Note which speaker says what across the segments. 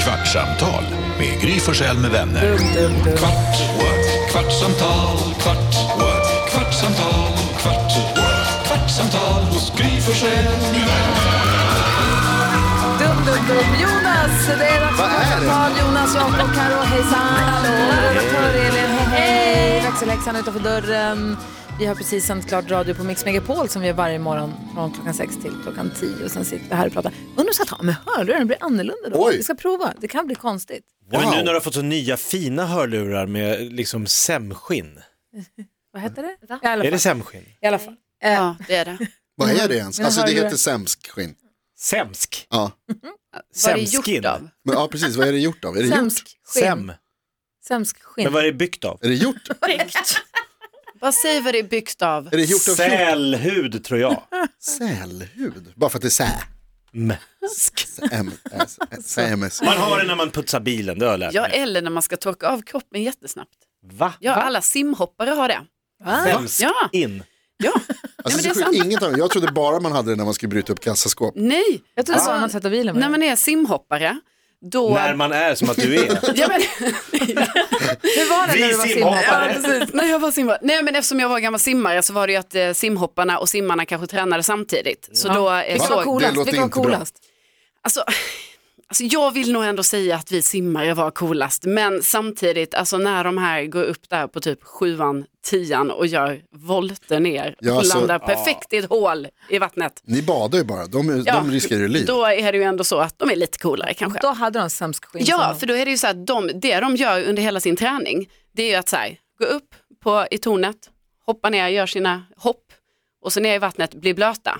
Speaker 1: Kvartsamtal med Gry Forssell med vänner. Kvart, what? kvartsamtal, kvart, what? kvartsamtal, kvart, what? kvartsamtal hos Gry Forssell med vänner.
Speaker 2: Dum, dum, dum. Jonas, det är Rassel, Jonas, Jakob, Karo, hejsan. Redaktör Elin, hej, hej. Växelhäxan utanför dörren. Vi har precis sänt klart radio på Mix Megapol som vi gör varje morgon från klockan sex till klockan tio. Och sen sitter vi här och pratar. Undrar om jag ska ta med hörlurarna, blir annorlunda då?
Speaker 3: Oj.
Speaker 2: Vi ska prova, det kan bli konstigt.
Speaker 4: Ja, men nu när du har fått så nya fina hörlurar med liksom sämskinn.
Speaker 2: Vad heter det? I alla
Speaker 4: Är det
Speaker 2: fall.
Speaker 4: sämskinn?
Speaker 2: I alla fall. Eh,
Speaker 5: Ja, det är det.
Speaker 3: Vad är det ens?
Speaker 2: Men
Speaker 3: Alltså
Speaker 2: har
Speaker 3: det
Speaker 2: du-
Speaker 3: heter sämskskinn.
Speaker 4: Sämsk?
Speaker 3: Ja.
Speaker 5: Vad är det gjort av?
Speaker 3: Men, ja, precis. Vad är det gjort av? Är det gjort?
Speaker 2: Sämsk skinn.
Speaker 4: Säm.
Speaker 2: Sämsk skinn.
Speaker 4: Men vad är det byggt av?
Speaker 3: Är det gjort?
Speaker 5: Byggt. Vad säger vad det är byggt av?
Speaker 3: Är det gjort av fjort?
Speaker 4: Sälhud tror jag.
Speaker 3: Sälhud? Bara för att det är sä.
Speaker 4: Mm.
Speaker 3: Säm- äh, sä- Sämsk.
Speaker 4: Man har det när man putsar bilen, det har jag lärt
Speaker 5: Ja,
Speaker 4: mig.
Speaker 5: eller när man ska torka av kroppen jättesnabbt.
Speaker 4: Va?
Speaker 5: Ja, alla simhoppare har det. Ja.
Speaker 4: Sämskinn?
Speaker 5: Ja,
Speaker 3: Alltså,
Speaker 5: Nej, men det är
Speaker 3: så sjukt.
Speaker 5: sant.
Speaker 3: Inget av det. Jag trodde bara man hade det när man skulle bryta upp kassaskåp.
Speaker 5: nej.
Speaker 2: Jag trodde det var när man tvättade bilen med
Speaker 5: När
Speaker 2: det.
Speaker 5: man är simhoppare, då...
Speaker 4: När man är som att du är.
Speaker 5: Ja, men...
Speaker 2: Hur var det
Speaker 4: Vi
Speaker 2: när du var
Speaker 4: simhoppare.
Speaker 2: simhoppare?
Speaker 5: ja, precis. När jag var simhoppare. Nej, men eftersom jag var gammal simmare så var det ju att eh, simhopparna och simmarna kanske tränade samtidigt. Så då... Eh,
Speaker 2: Vilka
Speaker 3: Va?
Speaker 2: var
Speaker 3: Det
Speaker 5: så...
Speaker 2: coolast?
Speaker 3: låter
Speaker 2: Vilka var
Speaker 3: inte bra.
Speaker 2: coolast?
Speaker 5: Alltså, alltså, jag vill nog ändå säga att vi simmare var coolast, men samtidigt, alltså när de här går upp där på typ sjuan, tian och gör volter ner
Speaker 3: Ja,
Speaker 5: och
Speaker 3: alltså,
Speaker 5: landar perfekt i ett hål i vattnet.
Speaker 3: Ni badar ju bara. De, de riskerar ju liv.
Speaker 5: Då är det ju ändå så att de är lite coolare kanske.
Speaker 2: Då hade de sämsk skinn. som
Speaker 5: Ja,
Speaker 2: de-
Speaker 5: för då är det ju så att de, det de gör under hela sin träning, det är ju att så här, gå upp på, i tornet, hoppa ner, gör sina hopp och så ner i vattnet, bli blöta.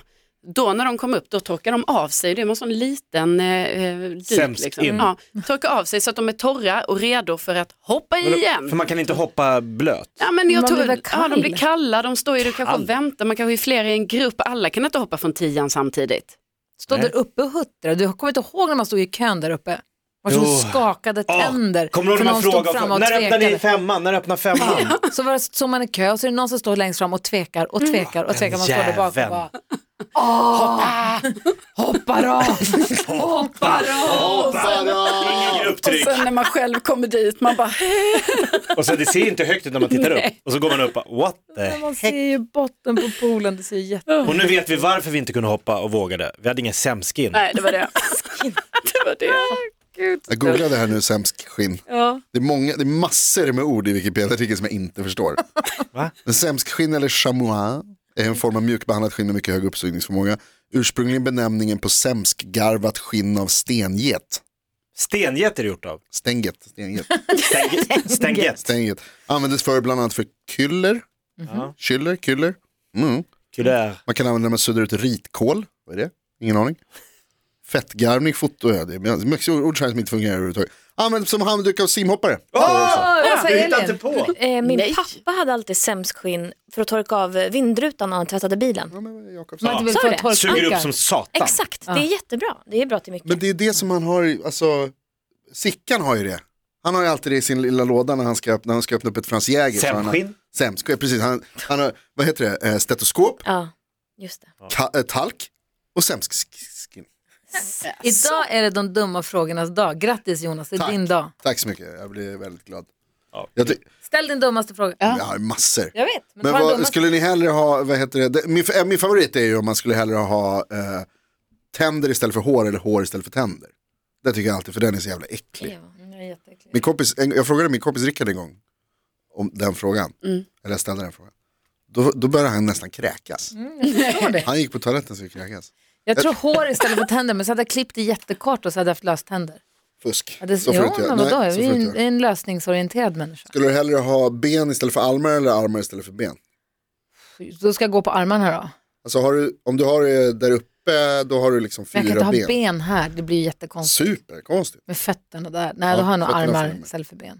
Speaker 5: Då när de kom upp, då torkar de av sig, det var en sån liten eh, eh, dyk.
Speaker 4: Sämst
Speaker 5: Liksom.
Speaker 4: in.
Speaker 5: Ja, torkar av sig så att de är torra och redo för att hoppa i
Speaker 4: För
Speaker 5: igen.
Speaker 4: man kan inte hoppa blöt.
Speaker 5: Ja, men jag
Speaker 2: Man blir
Speaker 5: tror,
Speaker 2: väl
Speaker 5: ja, de blir
Speaker 2: kall.
Speaker 5: kalla, de står ju kanske
Speaker 4: Kall.
Speaker 5: och väntar, man kanske är flera i en grupp, alla kan inte hoppa från tian samtidigt.
Speaker 2: Stod
Speaker 4: Nej.
Speaker 2: där uppe och huttrade. Du kommer inte ihåg när man stod i kön där uppe? Man som
Speaker 4: Jo.
Speaker 2: skakade
Speaker 4: Ah,
Speaker 2: tänder.
Speaker 4: Kommer du ihåg
Speaker 2: för
Speaker 4: när
Speaker 2: någon
Speaker 4: man
Speaker 2: stod
Speaker 4: frågar
Speaker 2: fram
Speaker 4: folk,
Speaker 2: och
Speaker 4: när öppnar ni
Speaker 2: tvekade.
Speaker 4: femman, när öppnar femman?
Speaker 2: Så var det så man i kö och så är det någon som står längst fram och tvekar och tvekar och tvekar. Man står där bak och
Speaker 4: jäveln.
Speaker 2: bara Åh, hoppar av, hoppar av.
Speaker 4: Ingen grupptryck.
Speaker 5: Sen när man själv kommer dit, man bara
Speaker 4: Och så det ser inte högt ut när man tittar upp. Och så går man upp och bara, what the
Speaker 2: Men Man ser ju botten på poolen, det ser ju jätte...
Speaker 4: Och nu vet vi varför vi inte kunde hoppa och vågade. Vi hade ingen sämskin.
Speaker 5: Nej, det var det. det var det.
Speaker 3: Jag googlade här nu, sämskskinn.
Speaker 2: Ja.
Speaker 3: Det, är många- det är massor med ord i Wikipedia-artikeln som jag inte förstår.
Speaker 4: Va?
Speaker 3: Men Sämskskinn eller chamois är en form av mjukbehandlat skinn med mycket hög uppsugningsförmåga. Ursprungligen benämningen på sämskgarvat skinn av stenget.
Speaker 4: Stenget är det gjort av.
Speaker 3: Stänget, stenget,
Speaker 4: Stänget. Stänget.
Speaker 3: stänget. Användes förr bland annat för kyller,
Speaker 4: Ja.
Speaker 3: kyller, kyller. Mm.
Speaker 4: Kulär.
Speaker 3: Man kan använda när man suddar ut ritkål. Vad är det? Ingen aning. Fettgarvning, foto, ja, det är mycket ord som inte fungerar överhuvudtaget. Används som handduk av simhoppare.
Speaker 4: Ah!
Speaker 2: Vad sa
Speaker 4: Du hittar inte
Speaker 2: Elin?
Speaker 4: på.
Speaker 6: Eh, min
Speaker 5: Nej.
Speaker 6: pappa hade alltid sämskskinn för att torka av eh, vindrutan när han tvättade bilen.
Speaker 3: Ja, men, Jakob,
Speaker 2: Man inte vill
Speaker 6: Sa
Speaker 2: få
Speaker 6: det?
Speaker 4: Suger upp
Speaker 2: torktankar.
Speaker 4: som satan.
Speaker 6: Exakt, det är jättebra. Det är bra till mycket.
Speaker 3: Men det är det som han har, i- alltså, Sickan har ju det. Han har ju alltid det i sin lilla låda när han ska, öppna- när han ska öppna upp ett Franz Jäger. Så han har-
Speaker 4: Sämskinn.
Speaker 3: Sämskskinn, precis. Han, han har, vad heter det, eh, stetoskop,
Speaker 6: Ja, just det.
Speaker 3: ka- eh, talk och sämskskinn.
Speaker 2: Idag är det de dumma frågornas dag. Grattis Jonas, det är
Speaker 3: Tack.
Speaker 2: din dag.
Speaker 3: Tack så mycket, jag blir väldigt glad.
Speaker 4: Ja.
Speaker 3: Jag, ty-
Speaker 2: Ställ din dummaste fråga.
Speaker 3: jag har massor.
Speaker 2: Jag vet, men,
Speaker 3: Men
Speaker 2: ta den dummaste.
Speaker 3: vad, skulle ni hellre ha, vad heter det, det min, eh, min favorit är ju om man skulle hellre ha eh, tänder istället för hår eller hår istället för tänder. Det tycker jag alltid, för den är så jävla äcklig.
Speaker 6: Ja, den är jätteäcklig.
Speaker 3: Min kompis, en, jag frågade min kompis Rickard en gång om den frågan.
Speaker 2: Mm.
Speaker 3: Eller jag ställde den frågan. Då, då började han nästan kräkas.
Speaker 2: Mm,
Speaker 3: Han gick på toaletten så kräkas.
Speaker 2: Jag tror hår istället för tänder, men så hade jag klippt det jättekort och så hade jag haft löständer.
Speaker 3: Fusk.
Speaker 2: Ja, det,
Speaker 3: så får du
Speaker 2: ja,
Speaker 3: inte göra.
Speaker 2: men vadå?
Speaker 3: Nej,
Speaker 2: Jag
Speaker 3: så
Speaker 2: är
Speaker 3: får du
Speaker 2: ju
Speaker 3: inte
Speaker 2: en,
Speaker 3: göra.
Speaker 2: en lösningsorienterad människa.
Speaker 3: Skulle du hellre ha ben istället för armar eller armar istället för ben?
Speaker 2: Då ska jag gå på armarna då.
Speaker 3: Alltså har du, om du har det där uppe, då har du liksom
Speaker 2: Men jag kan inte
Speaker 3: fyra
Speaker 2: ha
Speaker 3: ben.
Speaker 2: ben här, det blir ju jättekonstigt.
Speaker 3: Superkonstigt.
Speaker 2: Med fötterna där. Nej,
Speaker 3: Ja,
Speaker 2: då har jag nog
Speaker 3: fötterna
Speaker 2: armar
Speaker 3: framme.
Speaker 2: istället för ben.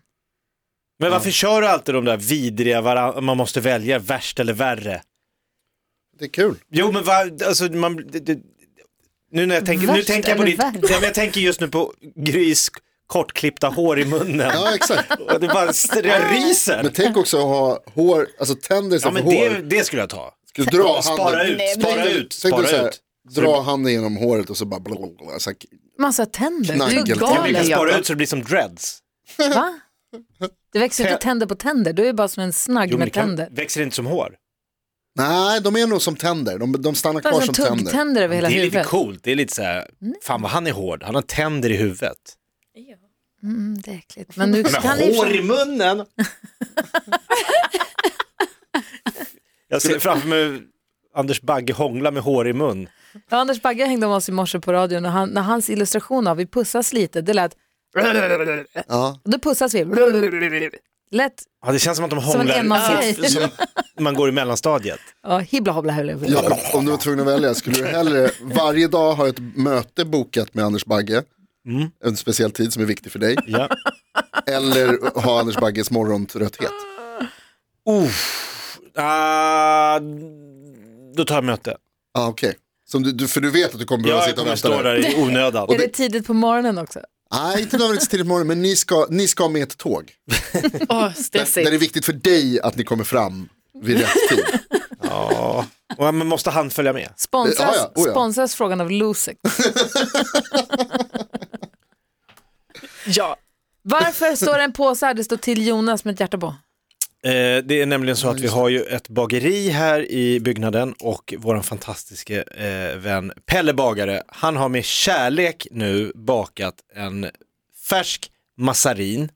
Speaker 4: Men varför kör du alltid de där vidriga, varan- man måste välja värst eller värre?
Speaker 3: Det är kul.
Speaker 4: Jo men va, alltså man, det, det, nu när jag tänker, nu
Speaker 2: Värst
Speaker 4: tänker jag på
Speaker 2: eller
Speaker 4: ditt,
Speaker 2: värre?
Speaker 4: ja, men jag tänker just nu på Grys kortklippta hår i munnen.
Speaker 3: Ja exakt.
Speaker 4: Och det bara, jag
Speaker 3: Men
Speaker 4: ryser.
Speaker 3: tänk också att ha hår, alltså tänder
Speaker 4: Ja
Speaker 3: istället
Speaker 4: men
Speaker 3: för hår.
Speaker 4: det, det skulle jag ta.
Speaker 3: Skulle dra handen.
Speaker 4: Spara ut,
Speaker 3: Tänk dig-
Speaker 4: spara ut,
Speaker 3: tänk dig så
Speaker 4: spara
Speaker 3: här,
Speaker 4: ut.
Speaker 3: Dra handen genom håret och så bara blablabla. Så här,
Speaker 2: Massa tänder.
Speaker 3: Knackel.
Speaker 2: Du är
Speaker 5: Galen,
Speaker 4: Man kan
Speaker 2: galen.
Speaker 4: spara
Speaker 5: Jakob.
Speaker 4: ut så det blir som dreads.
Speaker 2: Va? Det växer inte
Speaker 4: Tä-
Speaker 2: tänder på tänder. Du är bara som en snagg
Speaker 4: Jo, men det
Speaker 2: med
Speaker 4: kan,
Speaker 2: tänder.
Speaker 4: växer inte som hår.
Speaker 3: nej, de är nog som tänder. De, de stannar
Speaker 2: Du
Speaker 3: kvar
Speaker 2: har
Speaker 3: som
Speaker 2: som
Speaker 3: tänder.
Speaker 2: tuggtänder över
Speaker 4: Det
Speaker 2: hela
Speaker 4: är lite
Speaker 2: huvudet.
Speaker 4: coolt, det är lite så här, fan vad han är hård, han har tänder i huvudet.
Speaker 2: Mm, det är äckligt. Men nu kan
Speaker 4: Men
Speaker 2: ni...
Speaker 4: hår i munnen! Jag ser framför mig Anders Bagge hångla med hår i mun.
Speaker 2: Ja, Anders Bagge hängde om oss i morse på radion och han, när hans illustration av vi pussas lite, det lät...
Speaker 3: Ja.
Speaker 2: Då pussas vi. Lätt
Speaker 4: Ja, det känns som att de
Speaker 2: som en
Speaker 4: hånglar
Speaker 2: enmansgrej.
Speaker 4: när man går i mellanstadiet.
Speaker 2: Ja, hibbla hobbla hubbla. hubbla.
Speaker 3: Ja, om du var tvungen att välja, skulle du hellre varje dag ha ett möte bokat med Anders Bagge,
Speaker 4: Mm.
Speaker 3: en speciell tid som är viktig för dig,
Speaker 4: Ja.
Speaker 3: eller ha Anders Bagges morgontrötthet?
Speaker 4: Uff. Ah, då tar jag möte.
Speaker 3: Ah, okay. Som du, du, för du vet att du kommer behöva
Speaker 4: Jag
Speaker 3: sitta och
Speaker 4: kommer
Speaker 3: vänta
Speaker 4: stå
Speaker 3: där.
Speaker 4: där i onödan.
Speaker 2: Är det tidigt på morgonen också?
Speaker 3: Nej, inte nödvändigtvis tidigt på morgonen, men ni ska, ni ska med ett tåg.
Speaker 5: Åh,
Speaker 3: Där det är
Speaker 5: stressigt.
Speaker 3: viktigt för dig att ni kommer fram vid rätt tid.
Speaker 4: Ja. Och man måste han följa med?
Speaker 2: Sponsras,
Speaker 3: Ja, ja, oh ja.
Speaker 2: sponsras frågan av Losec.
Speaker 5: Ja.
Speaker 2: Varför står det en påse här? Det står till Jonas med ett hjärta på.
Speaker 4: Eh, det är nämligen så att vi har ju ett bageri här i byggnaden och vår fantastiske eh, vän Pelle Bagare, han har med kärlek nu bakat en färsk massarin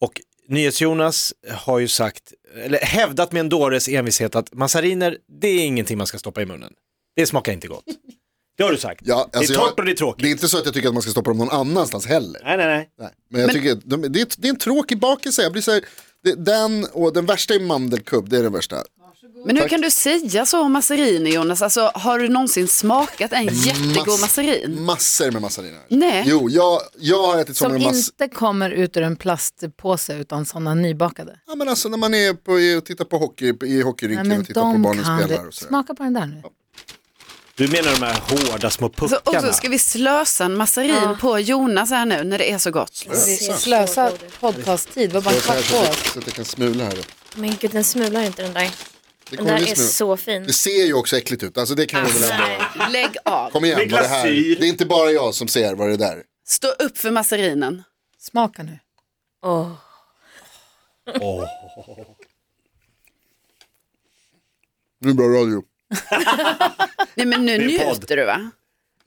Speaker 4: och NyhetsJonas har ju sagt, eller hävdat med en dåres envishet att massariner, det är ingenting man ska stoppa i munnen. Det smakar inte gott. Det har du sagt.
Speaker 3: Ja, alltså
Speaker 4: det är torrt
Speaker 3: jag-
Speaker 4: och det är tråkigt.
Speaker 3: Det är inte så att jag tycker att man ska stoppa dem någon annanstans heller.
Speaker 4: Nej, nej, nej.
Speaker 3: Nej, men jag tycker att de, det, är, det är en tråkig bakelse. Jag blir så här, det, den och den värsta är mandelkubb, det är den värsta.
Speaker 5: Men hur kan du säga så om masseriner Jonas? Alltså, har du någonsin smakat en
Speaker 3: Mm,
Speaker 5: jättegod masserin?
Speaker 3: Massor med massariner.
Speaker 5: Nej.
Speaker 3: Jo, jag, jag har ätit
Speaker 2: Som
Speaker 3: sådana mass...
Speaker 2: inte kommer ut ur en plastpåse utan sådana nybakade.
Speaker 3: Ja, men alltså när man är på, och tittar på hockey på- i
Speaker 2: Nej,
Speaker 3: hockeyrinken
Speaker 2: men
Speaker 3: och tittar på barnen
Speaker 2: kan
Speaker 3: spelar
Speaker 2: det.
Speaker 3: och så. där.
Speaker 2: Smaka på den där nu.
Speaker 4: Du menar de här hårda små
Speaker 5: Så, Alltså, och så
Speaker 4: puckarna?
Speaker 5: ska vi slösa en masserin på Jonas här nu när det är så gott.
Speaker 2: Slösa podcasttid, det var bara en
Speaker 3: Så, här,
Speaker 2: kvart
Speaker 3: så,
Speaker 2: på
Speaker 3: att,
Speaker 2: oss.
Speaker 3: så att jag kan smula här.
Speaker 6: Men gud, den smular inte den där.
Speaker 3: Det,
Speaker 6: Den
Speaker 3: kommer
Speaker 6: där
Speaker 3: bli
Speaker 6: är
Speaker 3: smula.
Speaker 6: så fin.
Speaker 3: det ser ju också äckligt ut, alltså det kan vi väl ändå.
Speaker 5: Lägg av.
Speaker 3: Kom igen,
Speaker 4: Det är
Speaker 3: vad det, här.
Speaker 4: glasyr.
Speaker 3: det är inte bara jag som ser vad det där.
Speaker 5: Stå upp för masserinen.
Speaker 2: Smaka nu.
Speaker 6: Åh.
Speaker 3: Det är bra radio.
Speaker 5: Nej men nu
Speaker 4: Det är podd.
Speaker 5: njuter du va?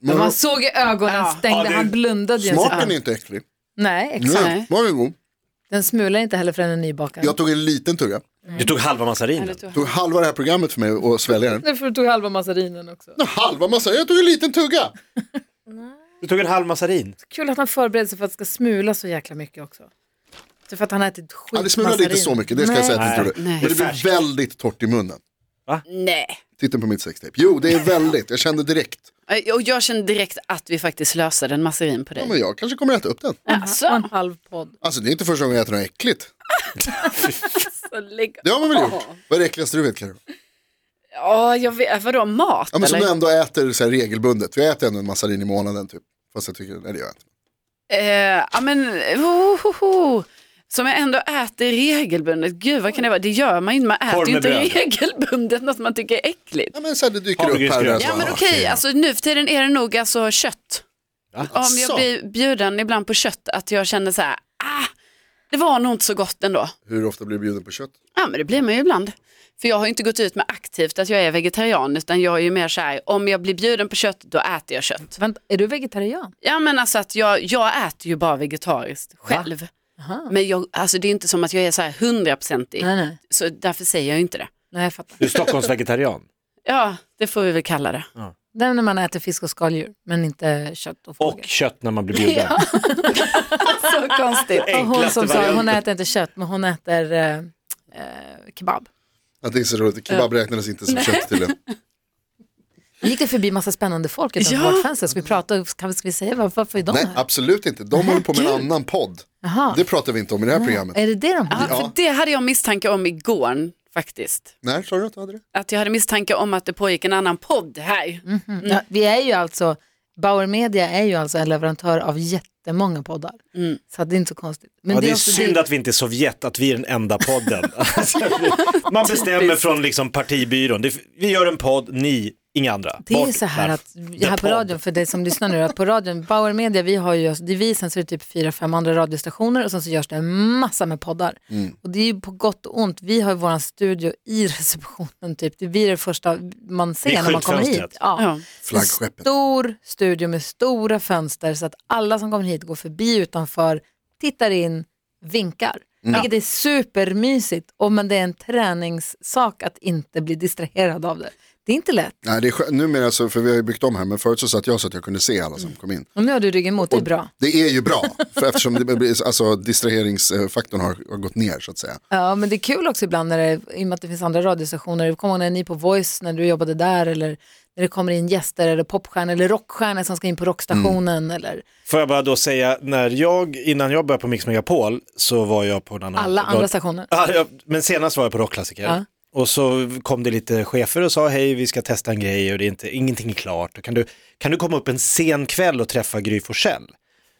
Speaker 2: Men man såg i ögonen
Speaker 5: Ja.
Speaker 2: stängde,
Speaker 4: Ja, det-
Speaker 2: han blundade ju.
Speaker 3: Smaken är Mm. inte äcklig.
Speaker 2: Nej, exakt.
Speaker 3: Nej, var den god.
Speaker 2: Den smular inte heller förrän den är nybakad.
Speaker 3: Jag tog en liten tugga.
Speaker 4: Du tog halva massarinen?
Speaker 3: tog halva det här programmet för mig och svälja den.
Speaker 2: Det är för att du tog halva massarinen också.
Speaker 3: Halva massa, jag tog en liten tugga.
Speaker 4: Du tog en halv massarin?
Speaker 2: Kul att han förbereder sig för att det ska smula så jäkla mycket också. Så för att han har ätit skit
Speaker 3: Ja, det smulade inte så mycket, det ska jag säga att det inte gjorde.
Speaker 5: Nej.
Speaker 3: Men det blev
Speaker 4: Färskt.
Speaker 3: väldigt torrt i munnen.
Speaker 5: Nej.
Speaker 3: Titta på mitt sextape. Jo, det är väldigt, jag kände direkt.
Speaker 5: Och jag kände direkt att vi faktiskt slösade en masserin på
Speaker 3: Ja,
Speaker 5: dig.
Speaker 3: men jag kanske kommer äta upp den.
Speaker 2: Och
Speaker 5: Alltså,
Speaker 2: en halv podd.
Speaker 3: Alltså det är inte första gången jag äter något äckligt.
Speaker 5: lägg
Speaker 3: Det har man väl gjort? Vad är det äckligaste du vet Carro?
Speaker 5: Ja, jag vet, vadå mat
Speaker 3: Ja men som
Speaker 5: eller?
Speaker 3: du ändå äter så här regelbundet. För jag äter ändå en massarin i månaden typ. Fast jag tycker, nej det gör jag inte.
Speaker 5: Eh, ja men, ohoho. Som jag ändå äter regelbundet. Gud vad kan det vara? Det gör man ju inte. Man
Speaker 4: Korv
Speaker 5: äter ju
Speaker 4: med
Speaker 5: inte
Speaker 4: bröd.
Speaker 5: regelbundet något man tycker är äckligt.
Speaker 3: Ja men så här, det dyker upp här och där.
Speaker 4: Havregrynsgröt.
Speaker 3: så
Speaker 5: Ja
Speaker 3: bara,
Speaker 5: men
Speaker 3: ah,
Speaker 5: okej,
Speaker 3: ja.
Speaker 5: alltså nu för tiden är det nog alltså kött. Om
Speaker 3: Asså.
Speaker 4: Alltså.
Speaker 5: jag blir bjuden ibland på kött att jag känner så här, ah, det var nog inte så gott ändå.
Speaker 3: Hur ofta blir du bjuden på kött?
Speaker 5: Ja men det blir man ju ibland. För jag har ju inte gått ut med aktivt att jag är vegetarian utan jag är ju mer så här, om jag blir bjuden på kött då äter jag kött.
Speaker 2: Vänta, är du vegetarian?
Speaker 5: Ja men alltså att jag, jag äter ju bara vegetariskt själv. Men jag, alltså det är inte som att jag är så här hundraprocentig.
Speaker 2: Nej, nej.
Speaker 5: Så därför säger jag ju inte det.
Speaker 2: Nej, jag fattar.
Speaker 4: Du är Stockholmsvegetarian?
Speaker 5: Ja, det får vi väl kalla det.
Speaker 2: Det är när man äter fisk och skaldjur, men inte kött och fågel.
Speaker 4: Och kött när man blir bjuden.
Speaker 5: Så konstigt.
Speaker 2: Och hon som sa,
Speaker 4: varianten.
Speaker 2: hon äter inte kött, men hon äter eh, eh, kebab.
Speaker 3: Att det är så roligt, kebab räknades inte som kött till
Speaker 2: Vi gick det förbi massa spännande folk utanför
Speaker 5: Ja.
Speaker 2: vårt fönster, ska vi prata, kan vi, ska vi säga var- varför är de
Speaker 3: Nej
Speaker 2: här?
Speaker 3: absolut inte, de håller på med en annan podd.
Speaker 2: Jaha.
Speaker 3: Det pratar vi inte om i det här programmet.
Speaker 2: Är det det de
Speaker 5: Ja,
Speaker 2: har?
Speaker 5: för det hade jag misstanke om igår faktiskt.
Speaker 3: När sa du att du hade det?
Speaker 5: Att jag hade misstanke om att det pågick en annan podd här.
Speaker 3: Mm.
Speaker 2: Ja, vi är ju alltså, Bauer Media är ju alltså en leverantör av jättemånga poddar.
Speaker 5: Mm.
Speaker 2: Så det är inte så konstigt. Men
Speaker 4: Ja, det är
Speaker 2: också
Speaker 4: synd att vi inte är Sovjet, att vi är den enda podden. Alltså, man bestämmer från liksom partibyrån, Det- vi gör en podd, ni, inga andra.
Speaker 2: Det är
Speaker 4: Bort
Speaker 2: så här
Speaker 4: med
Speaker 2: att, här på
Speaker 4: podd.
Speaker 2: radion, för dig som lyssnar nu, att på radion, Bauer Media, vi har ju, det är vi, sen så är det typ fyra, fem andra radiostationer och sen så görs det en massa med poddar.
Speaker 4: Mm.
Speaker 2: Och det är ju på gott och ont, vi har ju våran studio i receptionen typ, det blir det första man
Speaker 4: Det är
Speaker 2: ser när man kommer hit.
Speaker 4: skyltfönstret.
Speaker 5: Ja.
Speaker 3: Flaggskeppet.
Speaker 2: Stor studio med stora fönster så att alla som kommer hit går förbi utanför, tittar in, vinkar.
Speaker 4: Mm.
Speaker 2: Vilket är supermysigt, och men det är en träningssak att inte bli distraherad av det. Det är inte lätt.
Speaker 3: Nej, det är skö- numera så, för vi har ju byggt om här, men förut så satt jag så att jag kunde se alla som
Speaker 5: Mm.
Speaker 3: kom in.
Speaker 2: Och nu har du ryggen mot, det är bra.
Speaker 3: Det är ju bra, för eftersom det blir, alltså, distraheringsfaktorn har, har gått ner så att säga.
Speaker 2: Ja, men det är kul också ibland när det, i och med att det finns andra radiostationer. Kommer ihåg när ni på Voice, när du jobbade där, eller när det kommer in gäster eller popstjärnor eller rockstjärnor som ska in på rockstationen.
Speaker 3: Mm.
Speaker 2: Eller,
Speaker 4: Får jag bara då säga, när jag, innan jag började på Mix Megapol så var jag på en annan...
Speaker 2: alla andra
Speaker 4: rad-
Speaker 2: stationer.
Speaker 4: Ja, jag- men senast var jag på Rockklassiker.
Speaker 2: Ja.
Speaker 4: Och så kom det lite chefer och sa hej, vi ska testa en grej och det är inte, ingenting är klart. Och kan, du, kan du komma upp en sen kväll och träffa Gry Forssell?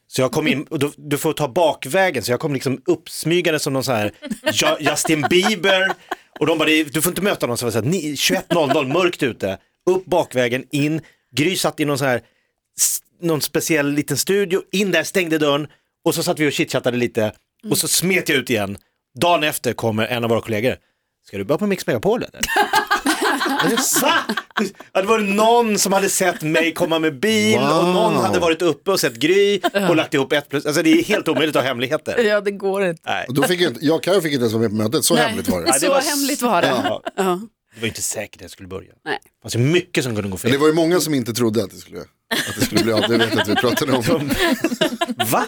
Speaker 4: Så jag kom in, och du, du får ta bakvägen, så jag kom liksom uppsmygande som någon sån här Ju- Justin Bieber. Och de bara, "Det är- du får inte möta någon som var så här, "Ni- 21.00, mörkt ute, upp bakvägen, in. Gry satt i någon sån här, s- någon speciell liten studio, in där, stängde dörren och så satt vi och chitchattade lite och så smet jag ut igen. Dagen efter kommer en av våra kollegor, ska du börja på Mix Megapol eller? Va? Ja, det var någon som hade sett mig komma med bil och
Speaker 3: Wow.
Speaker 4: någon hade varit uppe och sett Gry och lagt ihop ett plus. Alltså det är helt omöjligt att ha hemligheter.
Speaker 2: Ja, det går inte.
Speaker 4: Nej.
Speaker 3: Och då fick jag, inte- jag och Carro fick inte ens vara med på mötet, så hemligt var det.
Speaker 4: Nej, det
Speaker 5: Så
Speaker 4: var-
Speaker 5: hemligt var det.
Speaker 4: Ja.
Speaker 5: Ja.
Speaker 4: Det var inte säkert att jag skulle börja.
Speaker 5: Nej.
Speaker 4: Det fanns ju mycket som kunde gå
Speaker 3: Men det
Speaker 4: fel.
Speaker 3: var ju många som inte trodde att det skulle, att det skulle bli av, det vet jag att vi pratade om.
Speaker 4: Va?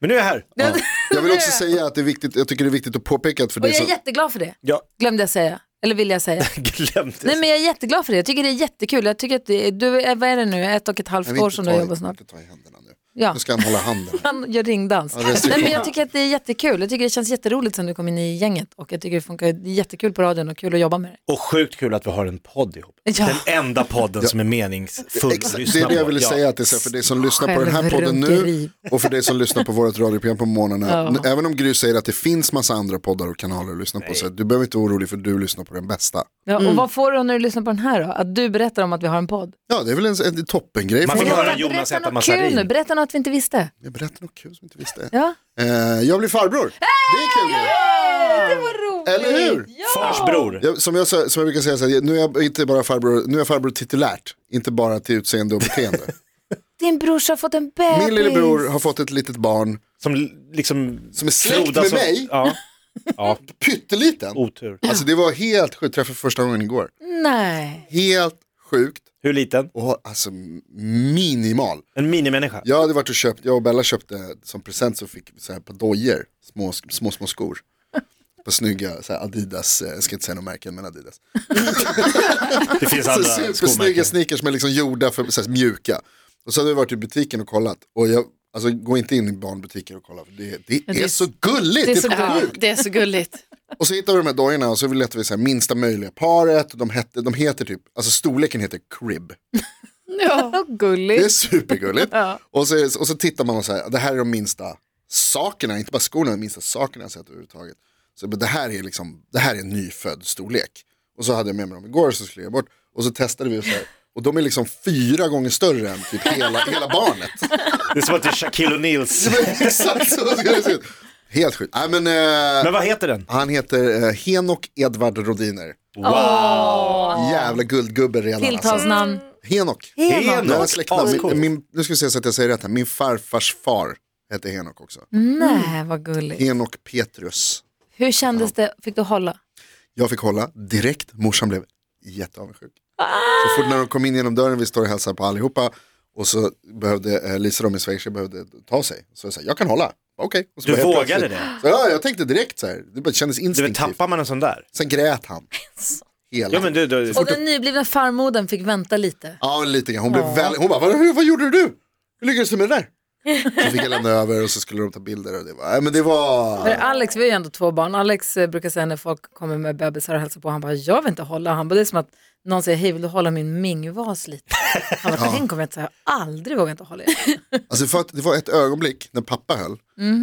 Speaker 4: Men nu är jag här.
Speaker 3: Ja. Jag vill också säga att det är viktigt, jag tycker det är viktigt att påpeka att för
Speaker 2: Och
Speaker 3: det
Speaker 2: jag
Speaker 3: som,
Speaker 2: är jätteglad för det,
Speaker 4: Jag
Speaker 2: glömde jag säga. Eller vill jag säga.
Speaker 4: glömde.
Speaker 2: Nej, men jag är jätteglad för det. Jag tycker det är jättekul. Jag tycker att det är, du, är- vad är det nu, ett och ett
Speaker 3: Jag
Speaker 2: halvt
Speaker 3: vill
Speaker 2: år
Speaker 3: inte
Speaker 2: som
Speaker 3: ta
Speaker 2: du
Speaker 3: i-
Speaker 2: har jobbat snart.
Speaker 3: inte ta i händerna nu.
Speaker 2: Ja.
Speaker 3: Nu ska han hålla handen.
Speaker 2: Han gör ringdans.
Speaker 3: Ja, restriktion.
Speaker 2: Nej, men jag tycker att det är jättekul. Jag tycker det känns jätteroligt sen du kom in i gänget och jag tycker det funkar det är jättekul på radion och kul att jobba med det.
Speaker 4: Och sjukt kul att vi har en podd ihop.
Speaker 2: Ja.
Speaker 4: Den enda podden som är meningsfull att
Speaker 3: Exakt, det
Speaker 4: lyssna
Speaker 3: är det jag
Speaker 4: på.
Speaker 3: ville
Speaker 4: Ja.
Speaker 3: säga, att det är så här, för dig som lyssnar på den här podden nu
Speaker 2: Självrunkeri.
Speaker 3: och för dig som lyssnar på vårt radioprogram på morgnarna,
Speaker 2: Ja.
Speaker 3: n- även om Gry säger att det finns massa andra poddar och kanaler att lyssna på, så här, du behöver inte vara orolig för du lyssnar på den bästa.
Speaker 2: Ja, och vad får du när du lyssnar på den här då? Att du berättar om att vi har en podd.
Speaker 3: Ja, det är väl en, en toppengrej.
Speaker 4: Man får
Speaker 3: för-
Speaker 4: höra
Speaker 2: Berätta-
Speaker 4: Jonas
Speaker 2: berätta
Speaker 4: äta
Speaker 2: något
Speaker 4: mazarin.
Speaker 2: kul nu, berätta något vi inte visste.
Speaker 3: Jag berättar något kul som inte visste.
Speaker 2: Ja.
Speaker 3: Eh, jag blir farbror, det är kul.
Speaker 2: Det var roligt.
Speaker 3: Eller hur?
Speaker 4: Fars bror.
Speaker 3: Jag, som, jag, sa- som jag brukar säga, så här, nu är jag inte bara farbror, nu är jag farbror titulärt, inte bara till utseende och beteende.
Speaker 2: Din brorsa har fått en bebis.
Speaker 3: Min lillebror har fått ett litet barn,
Speaker 4: Som l- liksom...
Speaker 3: Som är släkt
Speaker 4: frodas
Speaker 3: med
Speaker 4: och-
Speaker 3: mig?
Speaker 4: Ja. Oh. ja,
Speaker 3: pytteliten.
Speaker 4: otur.
Speaker 3: Alltså det var helt sjukt, träffade första gången igår.
Speaker 2: Nej.
Speaker 3: Helt sjukt
Speaker 4: Hur liten?
Speaker 3: och har- alltså minimal.
Speaker 4: En minimänniska.
Speaker 3: Jag hade varit och köpt, jag och Bella köpte som present så fick vi så här på dojer, små, små, små skor. På snygga så här Adidas, eh, jag ska inte säga några märken men Adidas.
Speaker 4: Det finns
Speaker 3: Så
Speaker 4: andra
Speaker 3: supersnygga
Speaker 4: skomärken.
Speaker 3: Alltså, sneakers som är liksom gjorda för så här, mjuka. Och så hade vi varit i butiken och kollat. Och jag, alltså gå inte in i barnbutiker och kolla för det, det, är,
Speaker 2: det är-
Speaker 3: så gulligt.
Speaker 2: det är så
Speaker 3: sjukt.
Speaker 5: Ja, det är så gulligt.
Speaker 3: Och så hittade vi de här dojorna och så letade vi så här, minsta möjliga paret. Och de, hette, de heter typ, alltså storleken heter crib.
Speaker 5: Ja.
Speaker 2: Vad
Speaker 3: Det är
Speaker 2: gulligt.
Speaker 3: supergulligt.
Speaker 2: Ja.
Speaker 3: och, så, och så tittar man och så här, det här är de minsta sakerna, inte bara skorna, de minsta sakerna jag sett överhuvudtaget. Så jag bara, det här är liksom, det här är en nyfödd storlek. Och så hade jag med mig dem igår så skulle jag bort och så testade vi och så här, och de är liksom fyra gånger större än typ hela, hela barnet.
Speaker 4: Det är som att det är Shaquille O'Neals.
Speaker 3: Exakt så ska det se ut. Helt sjukt. Nej, men, eh,
Speaker 4: Men vad heter den?
Speaker 3: Han heter eh, Henok Edvard Rodiner. Jävla guldgubbe redan. Alltså.
Speaker 2: Tilltalsnamn.
Speaker 3: Henok.
Speaker 4: Henok.
Speaker 3: Jag har släktnamn.
Speaker 4: Ascoolt.
Speaker 3: Min, min, nu ska vi se så att jag säger rätt här. Min farfars far hette Henok också.
Speaker 2: Nej, vad gulligt.
Speaker 3: Henok Petrus.
Speaker 2: Hur kändes det? Fick du hålla?
Speaker 3: Jag fick hålla direkt, morsan blev jätteavundsjuk. Så fort när de kom in genom dörren, vi står och hälsar på allihopa och så behövde eh, Lisa, då, min svägerska, behövde ta sig. Så jag sa, jag kan hålla. Okej. Och så
Speaker 4: Du
Speaker 3: bara helt
Speaker 4: vågade
Speaker 3: plötsligt-
Speaker 4: det?
Speaker 3: Så, ja, jag tänkte direkt så här, det bara kändes
Speaker 4: Du vet,
Speaker 3: instinktivt.
Speaker 4: tappar man en sån där?
Speaker 3: Sen grät han. Hela
Speaker 4: Ja men du, du,
Speaker 2: Och den nyblivna farmodern fick vänta lite.
Speaker 3: Ja, lite grann. Hon, blev väl, hon bara, vad, hur- vad gjorde du? Hur lyckades du med det där? Så fick jag lämna över och så skulle de ta bilder och det var, nej men det var,
Speaker 2: För Alex, vi har ju ändå två barn. Alex eh, brukar säga när folk kommer med bebisar och hälsar på, han bara, jag vill inte hålla. Han bara, det är som att någon säger, hej vill du hålla min mingvas lite? Han bara, den kommer jag inte säga, jag har aldrig vågat inte hålla i den."
Speaker 3: alltså för att det var ett ögonblick när pappa höll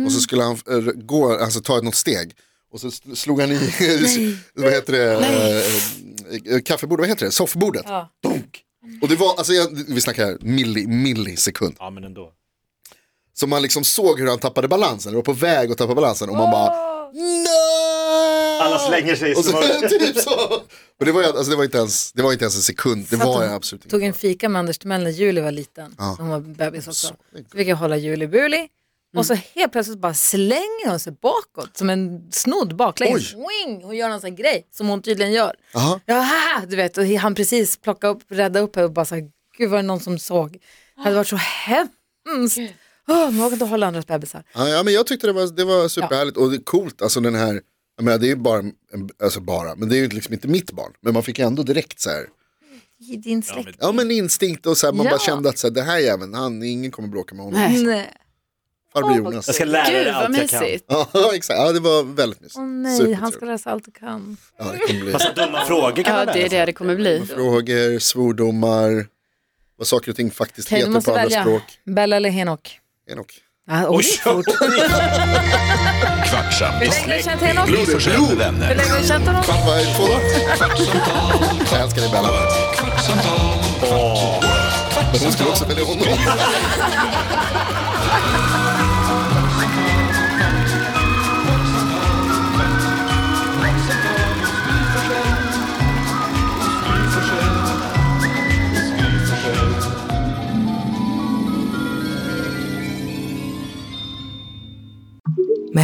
Speaker 3: och så skulle han eh, gå, alltså ta något steg Och så sl- slog han i, vad heter det, eh, eh, kaffebordet, vad heter det, soffbordet.
Speaker 6: Ja.
Speaker 3: Donk! Och det var, alltså jag, vi snackar milli, millisekund.
Speaker 4: Ja men ändå.
Speaker 3: Så man liksom såg hur han tappade balansen, eller var på väg att tappa balansen och man bara No!
Speaker 4: Alla slänger sig i
Speaker 3: och så,
Speaker 4: smör.
Speaker 3: typ så. Och det var, ju- alltså det, var inte ens, det var inte ens en sekund, det
Speaker 2: Satt
Speaker 3: var
Speaker 2: hon-
Speaker 3: jag absolut inte.
Speaker 2: Tog en fika med Anders Timell när Julie var liten.
Speaker 3: Ja. Mm.
Speaker 2: Hon var bebis också.
Speaker 3: Så-
Speaker 2: Så fick jag hålla Julie Buli. Och så helt plötsligt bara slänger hon sig bakåt som en snodd baklänges. Wing! Hon gör någon sån här grej som hon tydligen gör.
Speaker 3: Aha.
Speaker 2: Ja, du vet, och han precis plocka upp, rädda upp henne och bara så här, gud var det någon som såg. Det hade varit så hemskt. Oh, man vågar inte hålla andras bebisar.
Speaker 3: Ja, ja, men jag tyckte det var, det var superhärligt och det är coolt, alltså den här, jag menar, det är ju bara, en, alltså bara, men det är ju liksom inte mitt barn, men man fick ändå direkt så här,
Speaker 2: I din släkt.
Speaker 3: ja men instinkt och så här, man
Speaker 2: Ja.
Speaker 3: bara kände att så här, det här jäveln, han, ingen kommer bråka med honom.
Speaker 5: Nej.
Speaker 2: Nej.
Speaker 3: Farbror Jonas.
Speaker 4: Jag ska lära
Speaker 5: Gud
Speaker 4: dig
Speaker 5: vad
Speaker 4: Mm. allt jag kan.
Speaker 5: mysigt.
Speaker 3: Ja, exakt. Ja, det var väldigt mysigt.
Speaker 2: Åh nej,
Speaker 3: Supertrevligt.
Speaker 2: han ska läsa allt du kan.
Speaker 3: Ja, det kommer bli
Speaker 4: Alltså, Dumma frågor kan man
Speaker 5: Ja det är
Speaker 4: lära sig.
Speaker 5: det det kommer bli.
Speaker 3: frågor, svordomar, vad saker och ting faktiskt
Speaker 2: Okej, du
Speaker 3: heter
Speaker 2: måste
Speaker 3: på andra
Speaker 2: välja.
Speaker 3: språk.
Speaker 2: Bella eller Henok?
Speaker 3: Henok.
Speaker 2: Ah, oj, fort.
Speaker 1: Kvartsamtal,
Speaker 2: Hur länge har du känt Henok?
Speaker 1: Gry Forssell med
Speaker 2: Hur
Speaker 1: vänner.
Speaker 2: länge har du känt honom?
Speaker 3: Kvart, vad är det, två dagar? Jag älskar dig Bella.
Speaker 1: Kvartsamtal,
Speaker 3: Men hon skulle också välja honom.
Speaker 7: Med